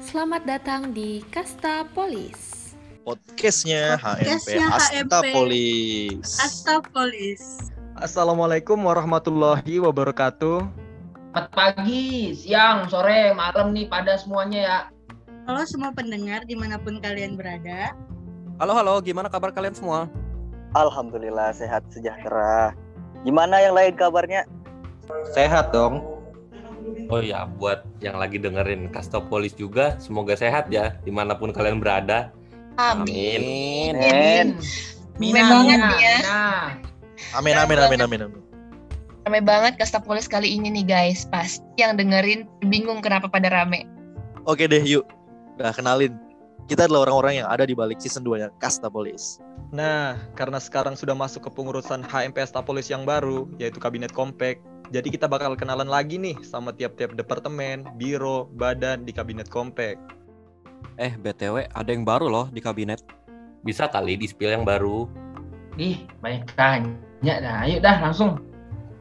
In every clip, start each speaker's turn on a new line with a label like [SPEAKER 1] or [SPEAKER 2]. [SPEAKER 1] Selamat datang di Kasta Polis.
[SPEAKER 2] podcastnya HMP
[SPEAKER 3] Podcastnya
[SPEAKER 2] Asta
[SPEAKER 3] HMP.
[SPEAKER 2] Polis.
[SPEAKER 3] Asta Polis.
[SPEAKER 4] Assalamualaikum warahmatullahi wabarakatuh.
[SPEAKER 5] Selamat pagi, siang, sore, malam nih pada semuanya ya.
[SPEAKER 3] Halo semua pendengar dimanapun kalian berada.
[SPEAKER 6] Halo halo, gimana kabar kalian semua?
[SPEAKER 7] Alhamdulillah sehat sejahtera. Gimana yang lain kabarnya?
[SPEAKER 2] Sehat dong.
[SPEAKER 8] Oh ya, buat yang lagi dengerin Kastopolis juga, semoga sehat ya dimanapun kalian berada. Amin.
[SPEAKER 9] Amin. Rame
[SPEAKER 3] Amin.
[SPEAKER 9] banget nih ya.
[SPEAKER 5] Nah,
[SPEAKER 2] Amin amin amin amin amin.
[SPEAKER 9] Rame banget Kastapolis kali ini nih guys. Pasti yang dengerin bingung kenapa pada rame.
[SPEAKER 2] Oke deh yuk. Nah, kenalin. Kita adalah orang-orang yang ada di balik season 2 nya Kasta Polis.
[SPEAKER 4] Nah, karena sekarang sudah masuk ke pengurusan HMP Stapolis yang baru, yaitu Kabinet Kompak, jadi kita bakal kenalan lagi nih sama tiap-tiap departemen, biro, badan di Kabinet Kompak.
[SPEAKER 6] Eh BTW ada yang baru loh di kabinet.
[SPEAKER 8] Bisa kali di spill yang baru.
[SPEAKER 5] ih banyak tanya. Nah, ayo dah langsung.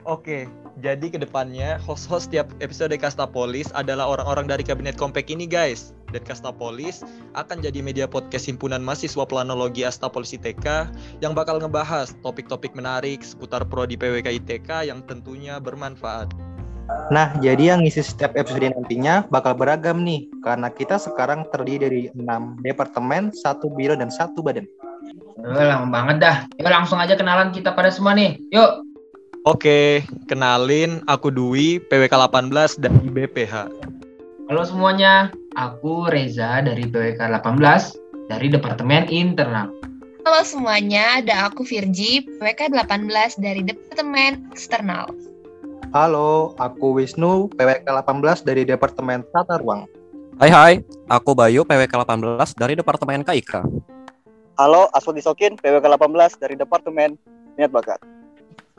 [SPEAKER 4] Oke, jadi kedepannya host-host tiap episode Kastapolis adalah orang-orang dari Kabinet Kompak ini guys. Dan Kastapolis akan jadi media podcast himpunan mahasiswa planologi Astapolis ITK yang bakal ngebahas topik-topik menarik seputar prodi PWK ITK yang tentunya bermanfaat.
[SPEAKER 10] Nah, jadi yang ngisi setiap episode nantinya bakal beragam nih, karena kita sekarang terdiri dari 6 departemen, satu biro, dan satu badan.
[SPEAKER 5] Eh, lama banget dah. Yuk langsung aja kenalan kita pada semua nih. Yuk.
[SPEAKER 4] Oke, kenalin aku Dwi, PWK 18 dari BPH.
[SPEAKER 5] Halo semuanya, aku Reza dari PWK 18 dari Departemen Internal.
[SPEAKER 9] Halo semuanya, ada aku Virji, PWK 18 dari Departemen Eksternal.
[SPEAKER 10] Halo, aku Wisnu, PWK 18 dari Departemen Tata Ruang.
[SPEAKER 6] Hai hai, aku Bayu PWK 18 dari Departemen KIK.
[SPEAKER 7] Halo, Aswad Isokin, PWK 18 dari Departemen Minat Bakat.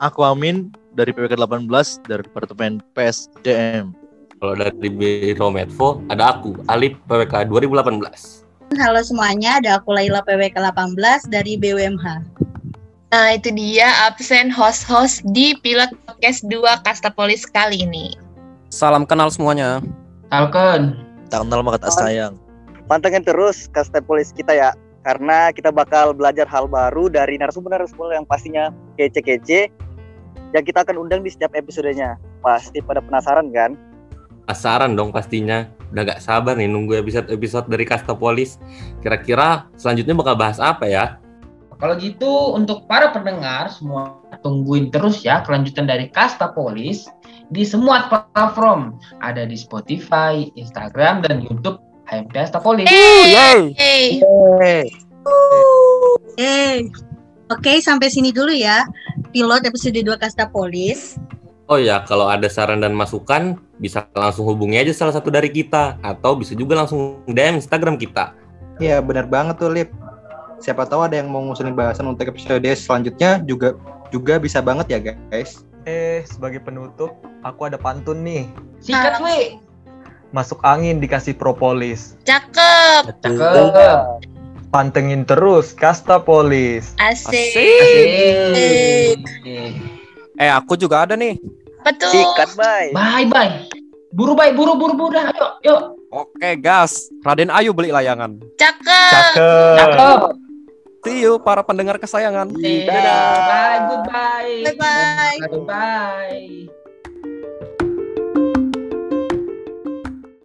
[SPEAKER 2] Aku Amin dari PPK 18 dari Departemen PSDM.
[SPEAKER 8] Kalau dari Biro Medfo, ada aku, Alip PWK 2018.
[SPEAKER 3] Halo semuanya, ada aku Laila PWK 18 dari BWMH.
[SPEAKER 9] Nah itu dia absen host-host di pilot podcast 2 Kastapolis kali ini.
[SPEAKER 6] Salam kenal semuanya.
[SPEAKER 5] Salken.
[SPEAKER 2] Tak kenal maka tak sayang.
[SPEAKER 7] Pantengin terus Kasta Polis kita ya, karena kita bakal belajar hal baru dari narasumber-narasumber yang pastinya kece-kece yang kita akan undang di setiap episodenya. Pasti pada penasaran kan?
[SPEAKER 8] Penasaran dong pastinya. Udah gak sabar nih nunggu episode-episode dari Kastopolis. Kira-kira selanjutnya bakal bahas apa ya?
[SPEAKER 5] Kalau gitu untuk para pendengar semua tungguin terus ya kelanjutan dari Kasta Polis di semua platform. Ada di Spotify, Instagram, dan Youtube HMP Kasta Polis.
[SPEAKER 9] Yeay! Yeay.
[SPEAKER 3] Eh, Oke, sampai sini dulu ya. Pilot episode 2 Kasta Polis.
[SPEAKER 8] Oh ya, kalau ada saran dan masukan, bisa langsung hubungi aja salah satu dari kita. Atau bisa juga langsung DM Instagram kita.
[SPEAKER 10] Iya, benar banget tuh, Lip. Siapa tahu ada yang mau ngusulin bahasan untuk episode selanjutnya juga juga bisa banget ya, guys.
[SPEAKER 4] Eh, sebagai penutup, aku ada pantun nih.
[SPEAKER 5] Sikat
[SPEAKER 3] Nah.
[SPEAKER 5] we.
[SPEAKER 4] Masuk angin dikasih propolis.
[SPEAKER 9] Cakep!
[SPEAKER 5] Cakep.
[SPEAKER 4] Pantengin terus Kastapolis.
[SPEAKER 9] Asik!
[SPEAKER 5] Asik.
[SPEAKER 6] Eh aku juga ada nih.
[SPEAKER 9] Betul!
[SPEAKER 7] Sikat, bye.
[SPEAKER 5] Bye bye. Buru bye, buru buru buru dah. Yuk, yuk.
[SPEAKER 6] Oke gas, Raden Ayu beli layangan.
[SPEAKER 9] Cakep!
[SPEAKER 4] Cakep.
[SPEAKER 5] Cakep.
[SPEAKER 6] See you para pendengar kesayangan.
[SPEAKER 5] Dadah. Bye, goodbye.
[SPEAKER 3] Bye-bye.
[SPEAKER 5] Bye bye.